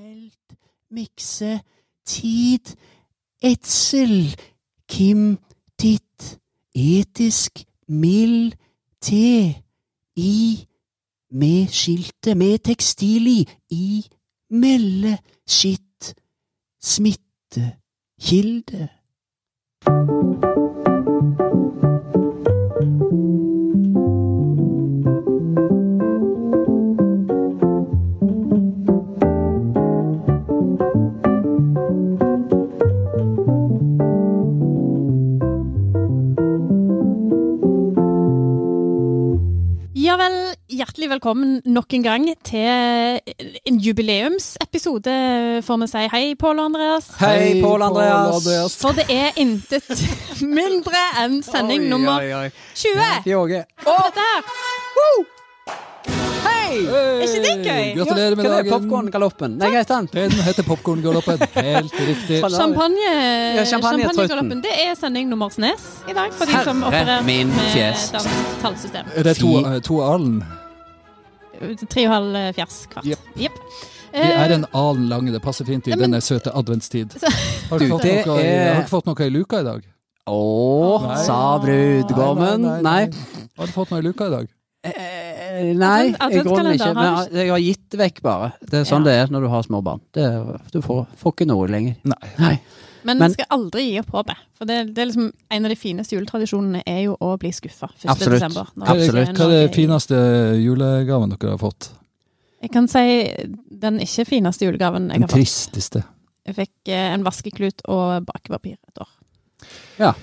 Felt, mikse, tid, edsel, Kim, titt, etisk, mild, te, i, med skiltet, med tekstil i, i, melde, skitt, smitte, kilde. Ja vel, hjertelig velkommen nok en gang til en jubileumsepisode, får vi si. Hei, Pål og Andreas. Hei, Pål Andreas. For det er intet mindre enn sending nummer 20. Jorge. Dette her. Er ikke det gøy? Gratulerer med dagen. Popkorngaloppen. Nei, hva heter den? Den heter Popkorngaloppen. Helt riktig. Fra Norge. Champagne, Ja, champagne- champagnegaloppen. Det er sending nummer snes i dag, for de som Herre opererer min med fjes. dansk tallsystem. Er det to, to alen? Tre og halv fjers kvart. Jep. Jep. Vi er Eh, en alen lange. Det passer fint i Nei, men- denne søte adventstid. Eh, Så- Har du fått det noe, i, er- har du fått noe i luka i dag? Å, Nei. sa brudgommen. Nei, Nei. nei, nei. Har du fått noe i luka i dag? Eh, Nei, Advent- i grunnen adventskalender ikke. har du Men eh, jeg har gitt vekk, bare. Det er sånn det er når du har små barn. Det er- Du får, får ikke noe lenger. Nei. Nei. Men Men- man skal aldri gi opp håpet. For det, det er liksom, En av de fineste juletradisjonene er jo å bli skuffa 1. Absolutt. desember. når Hva er, det det, er hva er det noe- fineste julegaven dere har fått? Jeg kan si den ikke fineste julegaven jeg Den har fått. tristeste. Jeg fikk eh, en vaskeklut og bakepapir et år.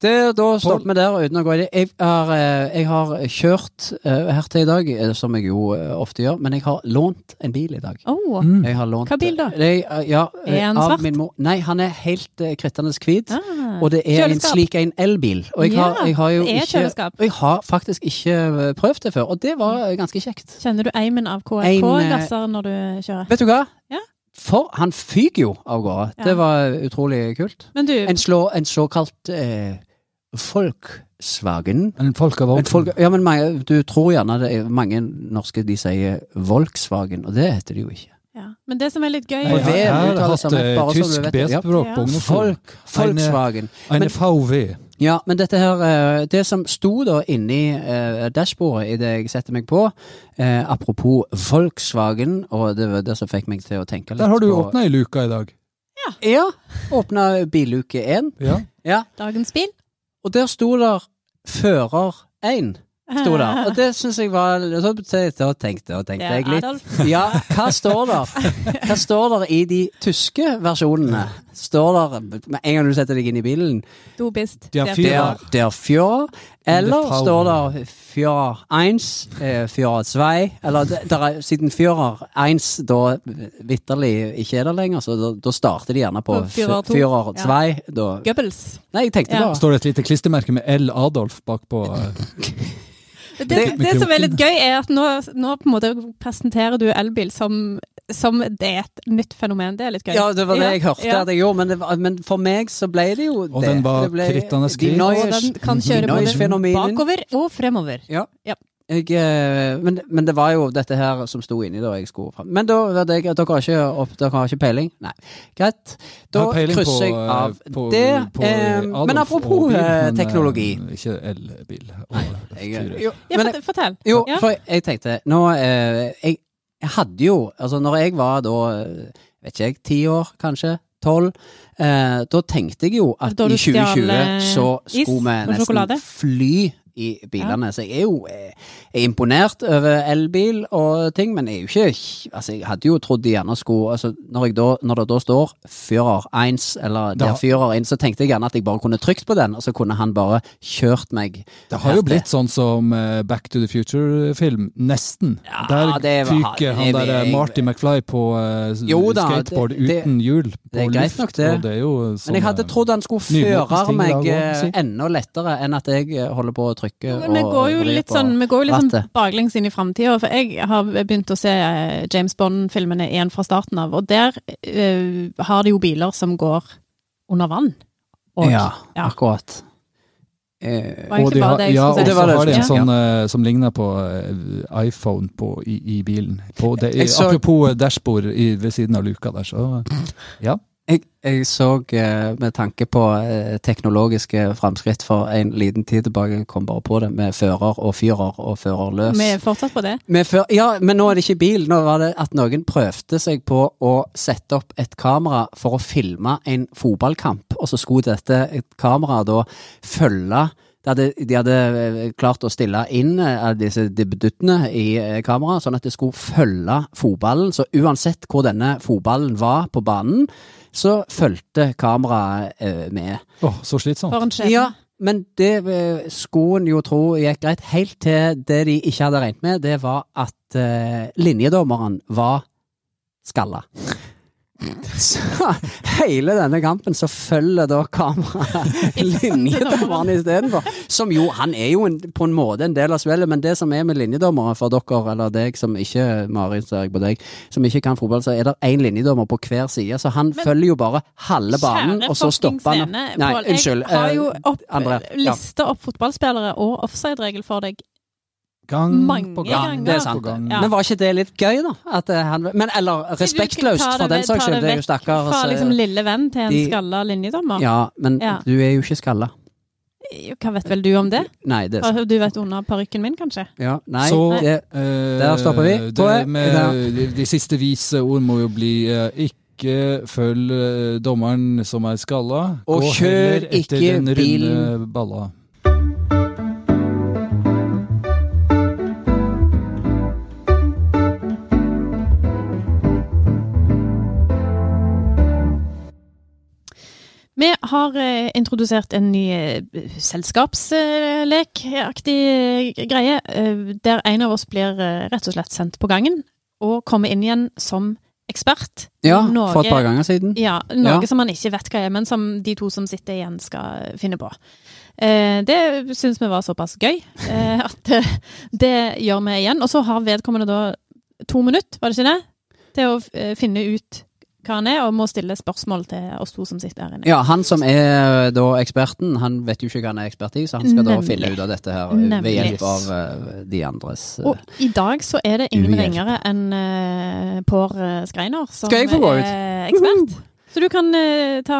Det, da stopper vi der uten å gå i det. Jeg har, eh, jeg har kjørt eh, her til i dag, eh, som jeg jo eh, ofte gjør, men jeg har lånt en bil i dag. Oh. Mm. Jeg har lånt Hva bil da? Jeg, eh, ja, eh, Er han av svart? min mor- Nei, han er helt eh, krittende hvit. Ah. Og det er en Kjøleskap. slik en elbil. Og jeg har, Ja, jeg har jo det er ikke kjøleskap. Jeg har faktisk ikke eh, prøvd det før, og det var eh, ganske kjekt. Kjenner du eimen av Ein, eh, KFK-gasser når du kjører? Vet du hva? Ja. For han fyker jo av gårde. Ja. Det var utrolig kult. Men du, En, slå, en såkalt eh, Volkswagen. En folk av Men folk, ja, men mange, du tror gjerne det er mange norske de sier Volkswagen, og det heter de jo ikke. ja. Men det som er litt gøy Jeg Og har det jeg har uttaler hatt seg eh, bare så du tysk vet det. Ja. B-språk Ja. på ungdomsskolen. Folk, Volkswagen. En Men- VV. Ja, men dette her eh, Det som sto da inni eh, dashbordet idet jeg setter meg på, eh, apropos Volkswagen, og det var det som fikk meg til å tenke litt Der har du på- åpna ei luke i dag. Ja. Åpna billuke én. Ja. Ja. Dagens bil. Og der sto der fører én. Sto der. Og det syns jeg var Så tenkte, tenkte, Det tenkte er jeg litt Adolf. Ja, hva står der? Hva står der i de tyske versjonene? Står der med en gang du setter deg inn i bilen Du bist. Ja, der fyr. Führer. Der, der fjør, Det eller Frau. står der fjør 1, eh, fjør 2 Eller det- der er, siden fjører 1 da vitterlig ikke er der lenger, så da, da starter de gjerne på På Führer f- to. fjører Ja. 2. Da Goebbels. Nei, jeg tenkte Ja. bare Står det et lite klistremerke med L. Adolf bakpå? eh, Det, det, som er litt gøy, er at nå, nå på en måte presenterer du elbil som, som det er et nytt fenomen. Det er litt gøy. Ja, det var det jeg hørte Ja. at jeg gjorde, men, det, var- men for meg så ble det jo det. Og den var det ble, krittende De hvit. Og Neues- den kan Mm-hmm. kjøre både Neues-fenomenen. bakover og fremover. Jeg, eh, men, men det var jo dette her som sto inni da jeg skulle fram. Men da var det, dere, har ikke opp, dere har ikke peiling? Nei. Greit. Da har peiling krysser jeg på, eh, av på- det. på eh, Adolf men og apropos bil, eh, men, eh, teknologi. Ikke elbil. og Jeg, eh, fyrer. jo, Ja, men, fort- fortell. jo, ja. for jeg tenkte Nå eh, jeg, jeg hadde jo Altså, når jeg var da eh, Vet ikke jeg, ti år, kanskje? Tolv? Eh, da tenkte jeg jo at Da du i 2020 stjal, eh, så is skulle vi og nesten sjokolade? fly i bilene. Så jeg er jo eh, jeg er imponert over elbil og ting, men jeg er jo ikke Altså, jeg hadde jo trodd de gjerne skulle altså, når, jeg da, når det da står Führer 1 eller Da- der Führer 1, så tenkte jeg gjerne at jeg bare kunne trykt på den, og så kunne han bare kjørt meg. Det har jo blitt sånn som eh, Back to the Future-film. Nesten. Ja, der det var- fyker han det- der eh, jeg- Marty McFly på eh, Jo da, det- skateboard det- uten hjul. På det er greit luft, nok det. og det er jo sånn, Men jeg hadde eh, trodd han skulle nymotens føre ting i dag meg også, eh, si. enda lettere enn at jeg eh, holder på å trykke. Men vi og- går jo og vri litt på sånn, vi går jo litt sånn rattet. baklengs inn i framtida. For jeg har begynt å se eh, James Bond-filmene igjen fra starten av, og der eh, har de jo biler som går under vann. Og, ja, ja. akkurat. eh, Var egentlig de bare har, det jeg skulle ja, og si. Det var så det har de jeg en skulle si. sånn eh, som ligner på eh, iPhone på, i, i bilen. På det, Jeg så- apropos eh, dashbord i, ved siden av luka der, så eh, ja. Jeg, jeg så eh, med tanke på eh, teknologiske framskritt for en liten tid tilbake, jeg kom bare på det, med fører og fyrer og sånn- førerløs. Vi er fortsatt på det. Med før, ja, men nå er det ikke bil. Nå var det at noen prøvde seg på å sette opp et kamera for å filme en fotballkamp, og så skulle dette et kamera da følge de hadde, de hadde eh, klart å stille inn eh, disse dibbeduttene i eh, kameraet, sånn at det skulle følge fotballen. Så uansett hvor denne fotballen var på banen, så fulgte kameraet eh, med. Åh, så slitsomt. For en skjebne. Ja, men det eh, skulle en jo tro gikk greit, helt til det de ikke hadde regnet med, det var at eh, linjedommeren var skalla. Så hele denne kampen så følger da kameraet linjedommeren istedenfor. Som jo, han er jo en, på en måte en del av spillet, men det som er med linjedommere for dere, eller deg som ikke, Marit, ser jeg på deg, som ikke kan fotball, så er det én linjedommer på hver side, så han Men- følger jo bare halve banen, Kjære og så fuckings stopper han. vene, Nei, Pål, unnskyld. Jeg har eh, jo opp, André, ja. lista opp fotballspillere og offside-regel for deg. Gang Mange på gang. Ja, ganger. det er sant. På gang. Men var ikke det litt gøy, da? At eh, han, men eller respektløst, ta for den det vekk- saks ta skyld. Det er det jo vekk stakkars Fra eh, liksom lille venn til en de- skalla linjedommer. Ja, men Ja. du er jo ikke skalla. Hva vet vel du om det? Nei, det er sant. Har Du vet under parykken min, kanskje? Ja, nei, Så- det, Eh, Der stopper vi. Tror jeg. Det med, de, de siste vise ord må jo bli eh, ikke følg eh, dommeren som er skalla. Og Gå kjør heller etter ikke den runde bilen. Balla. Vi har eh, introdusert en ny eh, selskapslekaktig eh, greie, eh, der en av oss blir eh, rett og slett sendt på gangen og kommer inn igjen som ekspert. ja, Norge- for et par ganger siden. Ja, noe Ja. som man ikke vet hva er, men som de to som sitter igjen skal finne på. Eh, det syns vi var såpass gøy eh, at eh, det gjør vi igjen. Og så har vedkommende da to minutter, var det ikke det, til å eh, finne ut hva han er, og må stille spørsmål til oss to som sitter her inne. Ja, han som er eh, da eksperten, han vet jo ikke hva han er ekspert i, så han skal da Nemlig. finne ut av dette her eh, Nemlig. ved hjelp av eh, de andres eh. Og i dag så er det ingen Uhjelp. ringere enn eh, Pår eh, Skreiner som Skal jeg få gå ut? er ekspert. Så du kan eh, ta,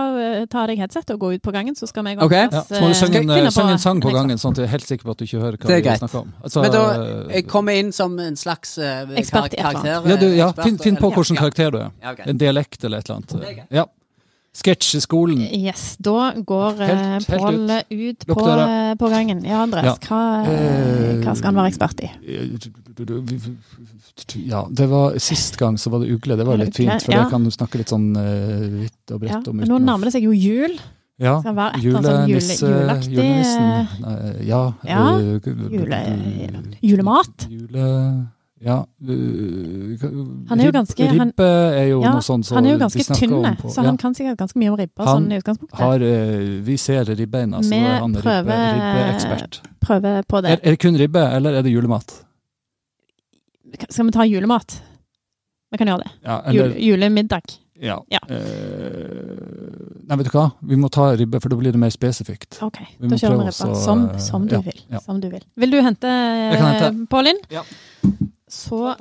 ta av deg headset og gå ut på gangen, så skal vi gå Ok. Ja, så må du synge en, eh, synge en sang på gangen, sånn at jeg er helt sikker på at du ikke hører hva Det er vi greit. snakker om. Altså, Men da, eh, jeg kommer inn som en slags eh, kar- Ekspert i et eller annet. karakter. ja, du, ja, eh, finn, finn på eller- hvilken karakter du er. Ja, ok. En dialekt eller et eller Det er annet. Ja. Sketsj i skolen. Yes, da går Mm. Helt- eh, helt Pål ut. ut Lukk på, døra. eh, på gangen. Ja, Andres, Ja. Hva, eh, hva skal han være ekspert i? Ja, det var sist gang så var det ugle. Det var litt fint, for Ja. det kan du snakke litt sånn eh, vidt og Ja. bredt om. men Nå uten å- nærmer det seg jo jul. ja. Skal han være et eller annet Julenisse, sånn jule, juleaktig julenissen Mm. eh, Nei, Ja. Ja, eh, jule- julemat? Jule... Ja. eh, Han er jo rib- ganske- han- Ribbe er jo Ja, noe sånt som han er jo de ganske snakker tynn, eh, om på- så han kan sikkert ganske mye om ribba. Han Sånn i utgangspunktet. har, eh, vi ser ribbeina, så Vi da er han prøver- ribbe, ribbeekspert. Prøve på Er, det. er det kun ribbe, eller er det julemat? Skal vi ta julemat? Vi kan gjøre det. Ja, Jule, eller, julemiddag. ja. Ja. Eh, nei, vet du hva? Vi må ta ribbe, for da blir det mer spesifikt. Ok, Vi da må kjører vi prøve ribba. oss å- Som, som, du ja, vil. ja. som du vil. Vil du hente, kan hente. eh, Pålin? Ja. Så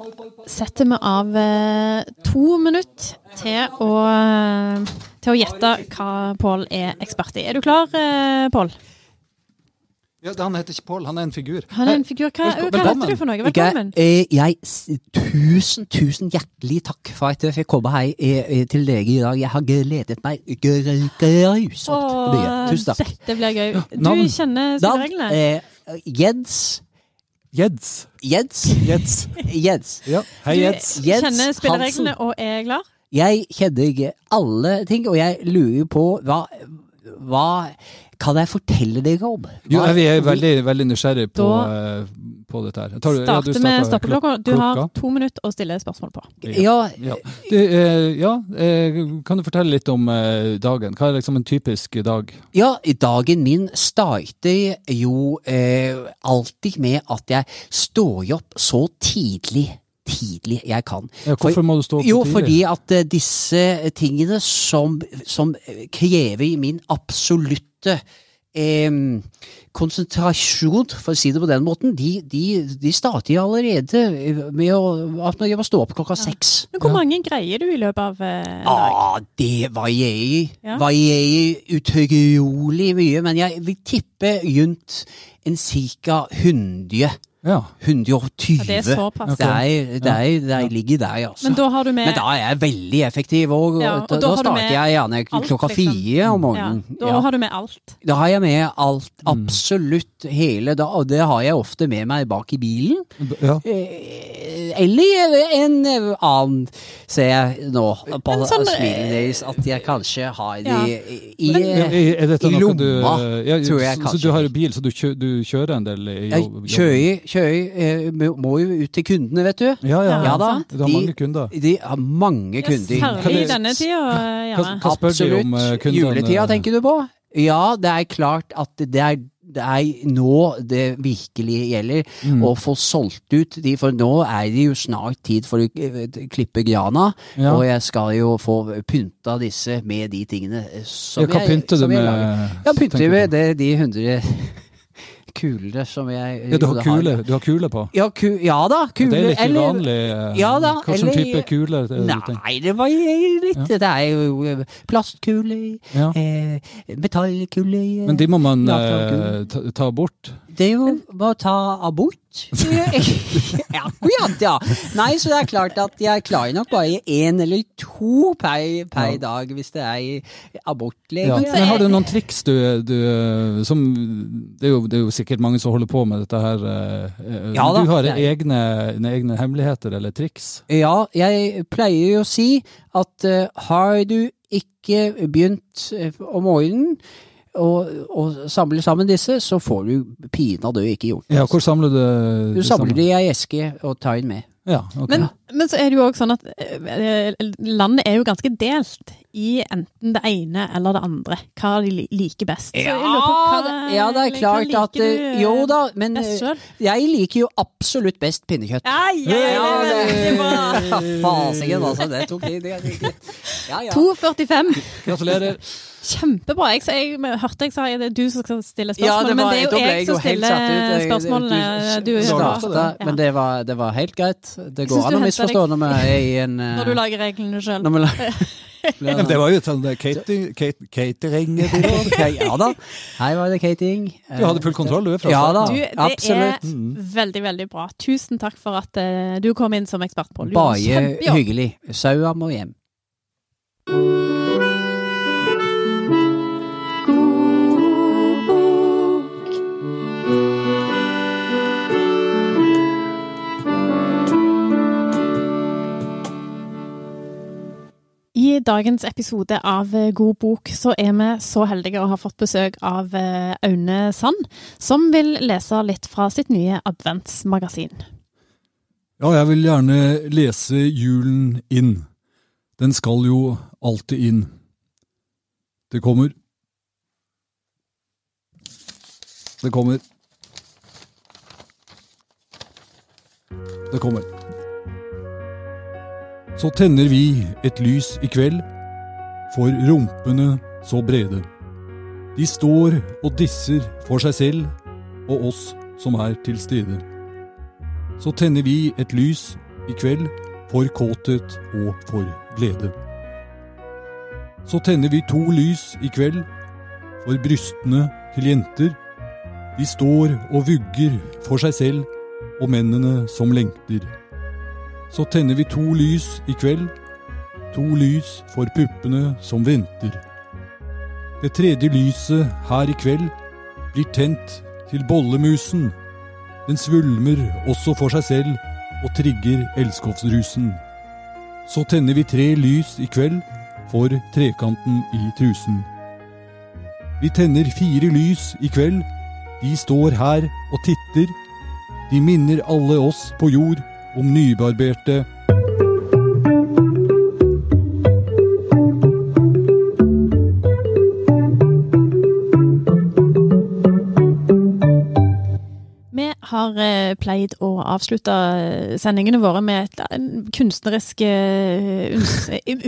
setter vi av eh, to minutter til å, eh, til å gjette hva Pål er ekspert i. Er du klar, eh, Pål? han heter ikke Pål, han er en figur. Han er en figur. Hva, Velko- hva velkommen. heter du for noe? Jeg, Velkommen. eh, jeg, s- tusen, tusen hjertelig takk for at jeg fikk komme her eh, eh, til dere i dag. Jeg har gledet meg gr- grusomt mye. Åh, Tusen takk. Dette blir gøy. Du navn. Navn kjenner spillereglene? eh, Jens Jeds. Jens Jeds. Jens. Ja. Hei, Jeds. Du Jens kjenner spillereglene Hansen. og er klar? Jeg kjenner ikke alle ting, og jeg lurer på hva, hva kan jeg fortelle dere om? Jo, Hva- vi er veldig, veldig nysgjerrige på, Da- eh, på dette her. Tar du- ja, du Starter med starter klok- stoppeklokka. Du har klokka. to minutter å stille spørsmål på. Ja, Ja. Du, eh, ja, eh, kan du fortelle litt om eh, dagen? Hva er liksom en typisk dag? Ja, dagen min starter jo eh, alltid med at jeg står opp så tidlig, tidlig jeg kan. Ja, For- hvorfor må du stå opp så Jo, tidlig? fordi at eh, disse tingene som, som krever min absolutte em, konsentrasjon, for å si det på den måten, de, de, de starter jo allerede eh, med å, at man stå opp klokka seks. Men hvor mange greier du i løpet av eh, en Ah, dag? Ja, det varierer Ja. Varierer utrolig mye, men jeg vil tippe rundt en ca. 100. Ja. 120. Ja, det er såpass. Det er- det er- det er- ligger der, altså. Men da har du med Men da er jeg veldig effektiv, og, Ja, og da, da da har du starter med jeg gjerne alt, klokka liksom. fire om ja, morgenen. Da Ja. har du med alt. Da har jeg med alt, absolutt hele da, og det har jeg ofte med meg bak i bilen. B- ja. Eh, Eller en eh, annen, ser jeg nå på Men sånn, eh, smilet deres, at jeg kanskje har de ja. i, i Er, er dette Eh, I noe du eh, lomma, ja, tror jeg så- Så kanskje. du har jo bil, så du, kjø, du kjører en del? i Jeg jobb- kjører, kjører eh, må- må jo ut til kundene, vet du. Ja, ja, Ja da, Du har de- mange kunder. De har mange kunder. Kan Særlig i jeg- denne tida, eh, Hva, gjerne. hva spør de om eh, Absolutt. kundene? Juletida tenker du på? Ja, det er klart at det er, det er nå det virkelig gjelder. Mm. Å få solgt ut de, for nå er det jo snart tid for å eh, klippe grana. Ja. Og jeg skal jo få pynta disse med de tingene eh, som Ja, hva jeg pynter du som jeg med? lager. Jeg tenker pynter du med på? det, de 100 kulene som jeg Ja, du har jo, det kule, du har kule på? Ja, ku, ja da, Det kuler. er litt eller- uvanlig. eh, Ja da, Hva slags eller- type kuler eh, du tenker? Nei, det var litt Det er jo eh, plastkuler, Ja. eh, metallkuler eh. Men de må man Ja, eh, ta, ta bort? Det er jo bare å ta abort. Ja, Akkurat, ja. Nei, så det er klart at jeg klarer nok bare én eller to per, per Ja. dag hvis det er abortlege. Ja. Men så Men er- har du noen triks du, du eh, som det er, jo, det er jo sikkert mange som holder på med dette her. eh, eh, Ja da, du har det er- egne, egne hemmeligheter eller triks? Ja, jeg pleier jo å si at eh, har du ikke begynt eh, om morgenen å å samle sammen disse, så får du pinadø ikke gjort det. Ja, hvor samler du eh, Du samler de i ei eske og tar den med. Ja, ok. Men, men så er det jo òg sånn at eh, landet er jo ganske delt i enten det ene eller det andre. Hva de li- liker best. Så jeg lurer på hva- det- ja, det er hva klart liker at du, eh, eh, Jo da, men best eh, selv? jeg liker jo absolutt best pinnekjøtt. Ja, ja, ja, det er veldig bra. Fasiken, altså. Det tok tid. det- det- det- Ja, ja. 2,45. Gratulerer. Kjempebra. Jeg, sa- jeg hørte jeg sa det er du som skal stille Ja, spørsmålene, men det da er jo ble jeg som jo helt stiller satt ut. Jeg- spørsmålene. Du, Du startet starta, Ja. men det var, det var helt greit. Det synes går an du å hentet misforstå deg- når vi er i en eh, Når du lager reglene sjøl. når vi Men lager det var jo sånn det er catering, cat- catering det var. Ja da. Her var det cating. Du hadde full kontroll, du, fra Ja da, Du, det Ah, absolutt. Mm. er veldig, veldig bra. Tusen takk for at eh, du kom inn som ekspert på lus. Bare Kjempejobb. hyggelig. Saua må hjem. I dagens episode av eh, God bok så er vi så heldige å ha fått besøk av eh, Aune Sand, som vil lese litt fra sitt nye adventsmagasin. Ja, jeg vil gjerne lese julen inn. Den skal jo alltid inn. Det kommer. Det kommer. Det kommer. Så tenner vi et lys i kveld, for rumpene så brede. De står og disser for seg selv og oss som er til stede så tenner vi et lys i kveld for kåthet og for glede. Så tenner vi to lys i kveld for brystene til jenter. De står og vugger for seg selv og mennene som lengter. Så tenner vi to lys i kveld, to lys for puppene som venter. Det tredje lyset her i kveld blir tent til bollemusen den svulmer også for seg selv og trigger elskovsrusen. Så tenner vi tre lys i kveld for trekanten i trusen. Vi tenner fire lys i kveld. De står her og titter. De minner alle oss på jord om nybarberte Vi har eh, pleid å avslutte eh, sendingene våre med et en kunstnerisk eh, unns,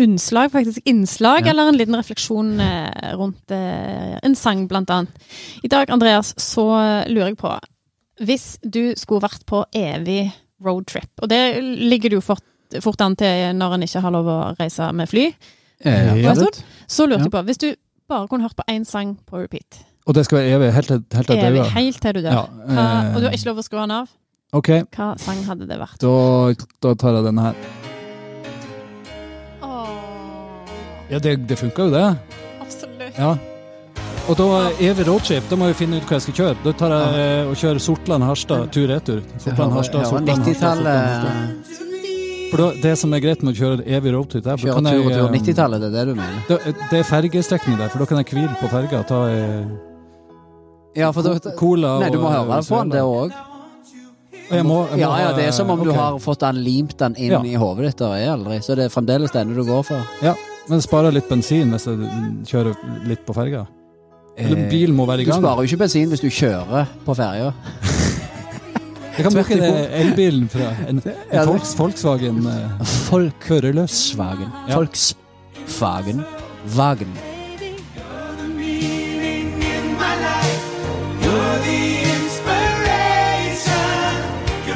unnslag, faktisk innslag, Ja. eller en liten refleksjon eh, rundt eh, en sang, blant annet. I dag, Andreas, så lurer jeg på Hvis du skulle vært på evig roadtrip, og det ligger det jo fort, fort an til når en ikke har lov å reise med fly, Eh, Ja. Robert? så lurte Ja. jeg på Hvis du bare kunne hørt på én sang på repeat, Og det skal være evig, helt til helt til jeg evig, dør. helt til du dør, Ja, hva, og du har eh, ikke lov å skru den av, Ok, hva sang hadde det vært? da, da tar jeg denne her. Ja, det, det funka jo, det. absolutt. Ja. Og da evig roadtrip. Da må jeg finne ut hva jeg skal kjøre. Da tar jeg eh, og kjører Sortland-Harstad tur-retur. Sortland-Harstad, Ja, eh, Sortland-Harstad. Sortland-Harstad. 90-tallet For da, det som er greit med å kjøre evig roadtrip, der, for Kjøre da kan tur og jeg tur. eh, 90-tallet, det er det du mener? da, Det er fergestrekning der, for da kan jeg hvile på ferga. Ta eh, Ja, for da cola Nei, du må og, eh, høre på den, det òg. Jeg må, jeg må, Ja, ja, det er som om du ok. har fått den limt den inn Ja. i hodet ditt, og er aldri. Så det er fremdeles denne du går for. Ja, men sparer litt bensin hvis jeg mm, kjører litt på ferga. Eller bilen må være i Eh, Du gang. sparer jo ikke bensin hvis du kjører på ferja. Jeg kan bruke Tvert det imot. elbilen fra en, Ja, en det- Volks, Volkswagen eh, førerløs. Volkswagen. Ja. Volkswagen. Wagen.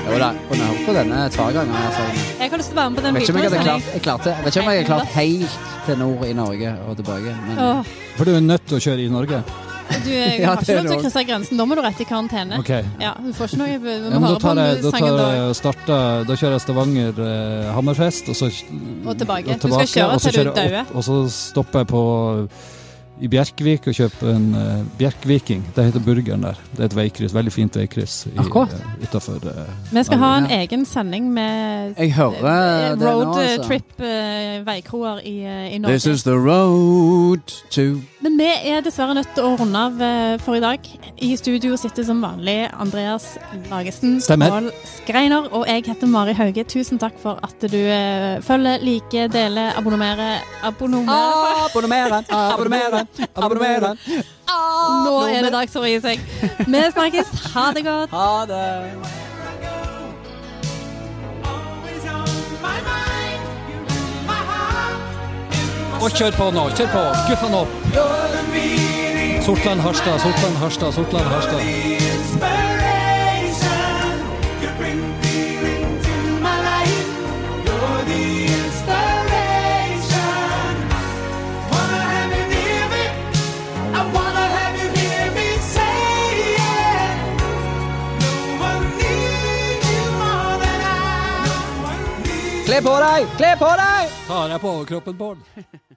Jo da, kunne hørt på denne et par ganger. Altså. Jeg har lyst til å være med på den Vet ikke om jeg hadde videoen, klart, jeg klarte, jeg vet ikke om jeg hadde klart helt til nord i Norge og tilbake. Men Åh, For du er nødt til å kjøre i Norge. du, jeg Ja, har det ikke er lov til å det krysse grensen. Da må du rett i karantene. Ok. Ja, Ja, du får ikke noe Vi må men da høre på tar jeg, da tar sangen da. jeg starta, da kjører jeg Stavanger eh, Hammerfest, og så Og tilbake. Du og skal kjøre og så til du kjører jeg dauer. opp, Og så stopper jeg på i Bjerkvik og kjøper en eh, Bjerkviking. Det heter burgeren der. Det er et veikryss, veldig fint veikryss i- Akkurat. eh, utenfor, eh, Vi skal ha en Ja. egen sending med jeg hører det nå, road eh, altså. trip eh, veikroer i, eh, i This Norge. is the road to Men vi er dessverre nødt til å runde av eh, for i dag. I studio sitter som vanlig Andreas Lagesen, Stemmer. Pål Skreiner, og jeg heter Mari Hauge. Tusen takk for at du eh, følger, liker, deler, abonnerer Abonnerer Abonnemere, abonnemere, abonnemere. Nå er det dags for å gi seg. Vi snakkes. Ha det godt. Ha det. Og kjør på nå, kjør på! Skuff han opp! Sortland Harstad, Sortland Harstad, Sortland Harstad. Kle på deg! Kle på deg! Tar jeg på overkroppen, Bård?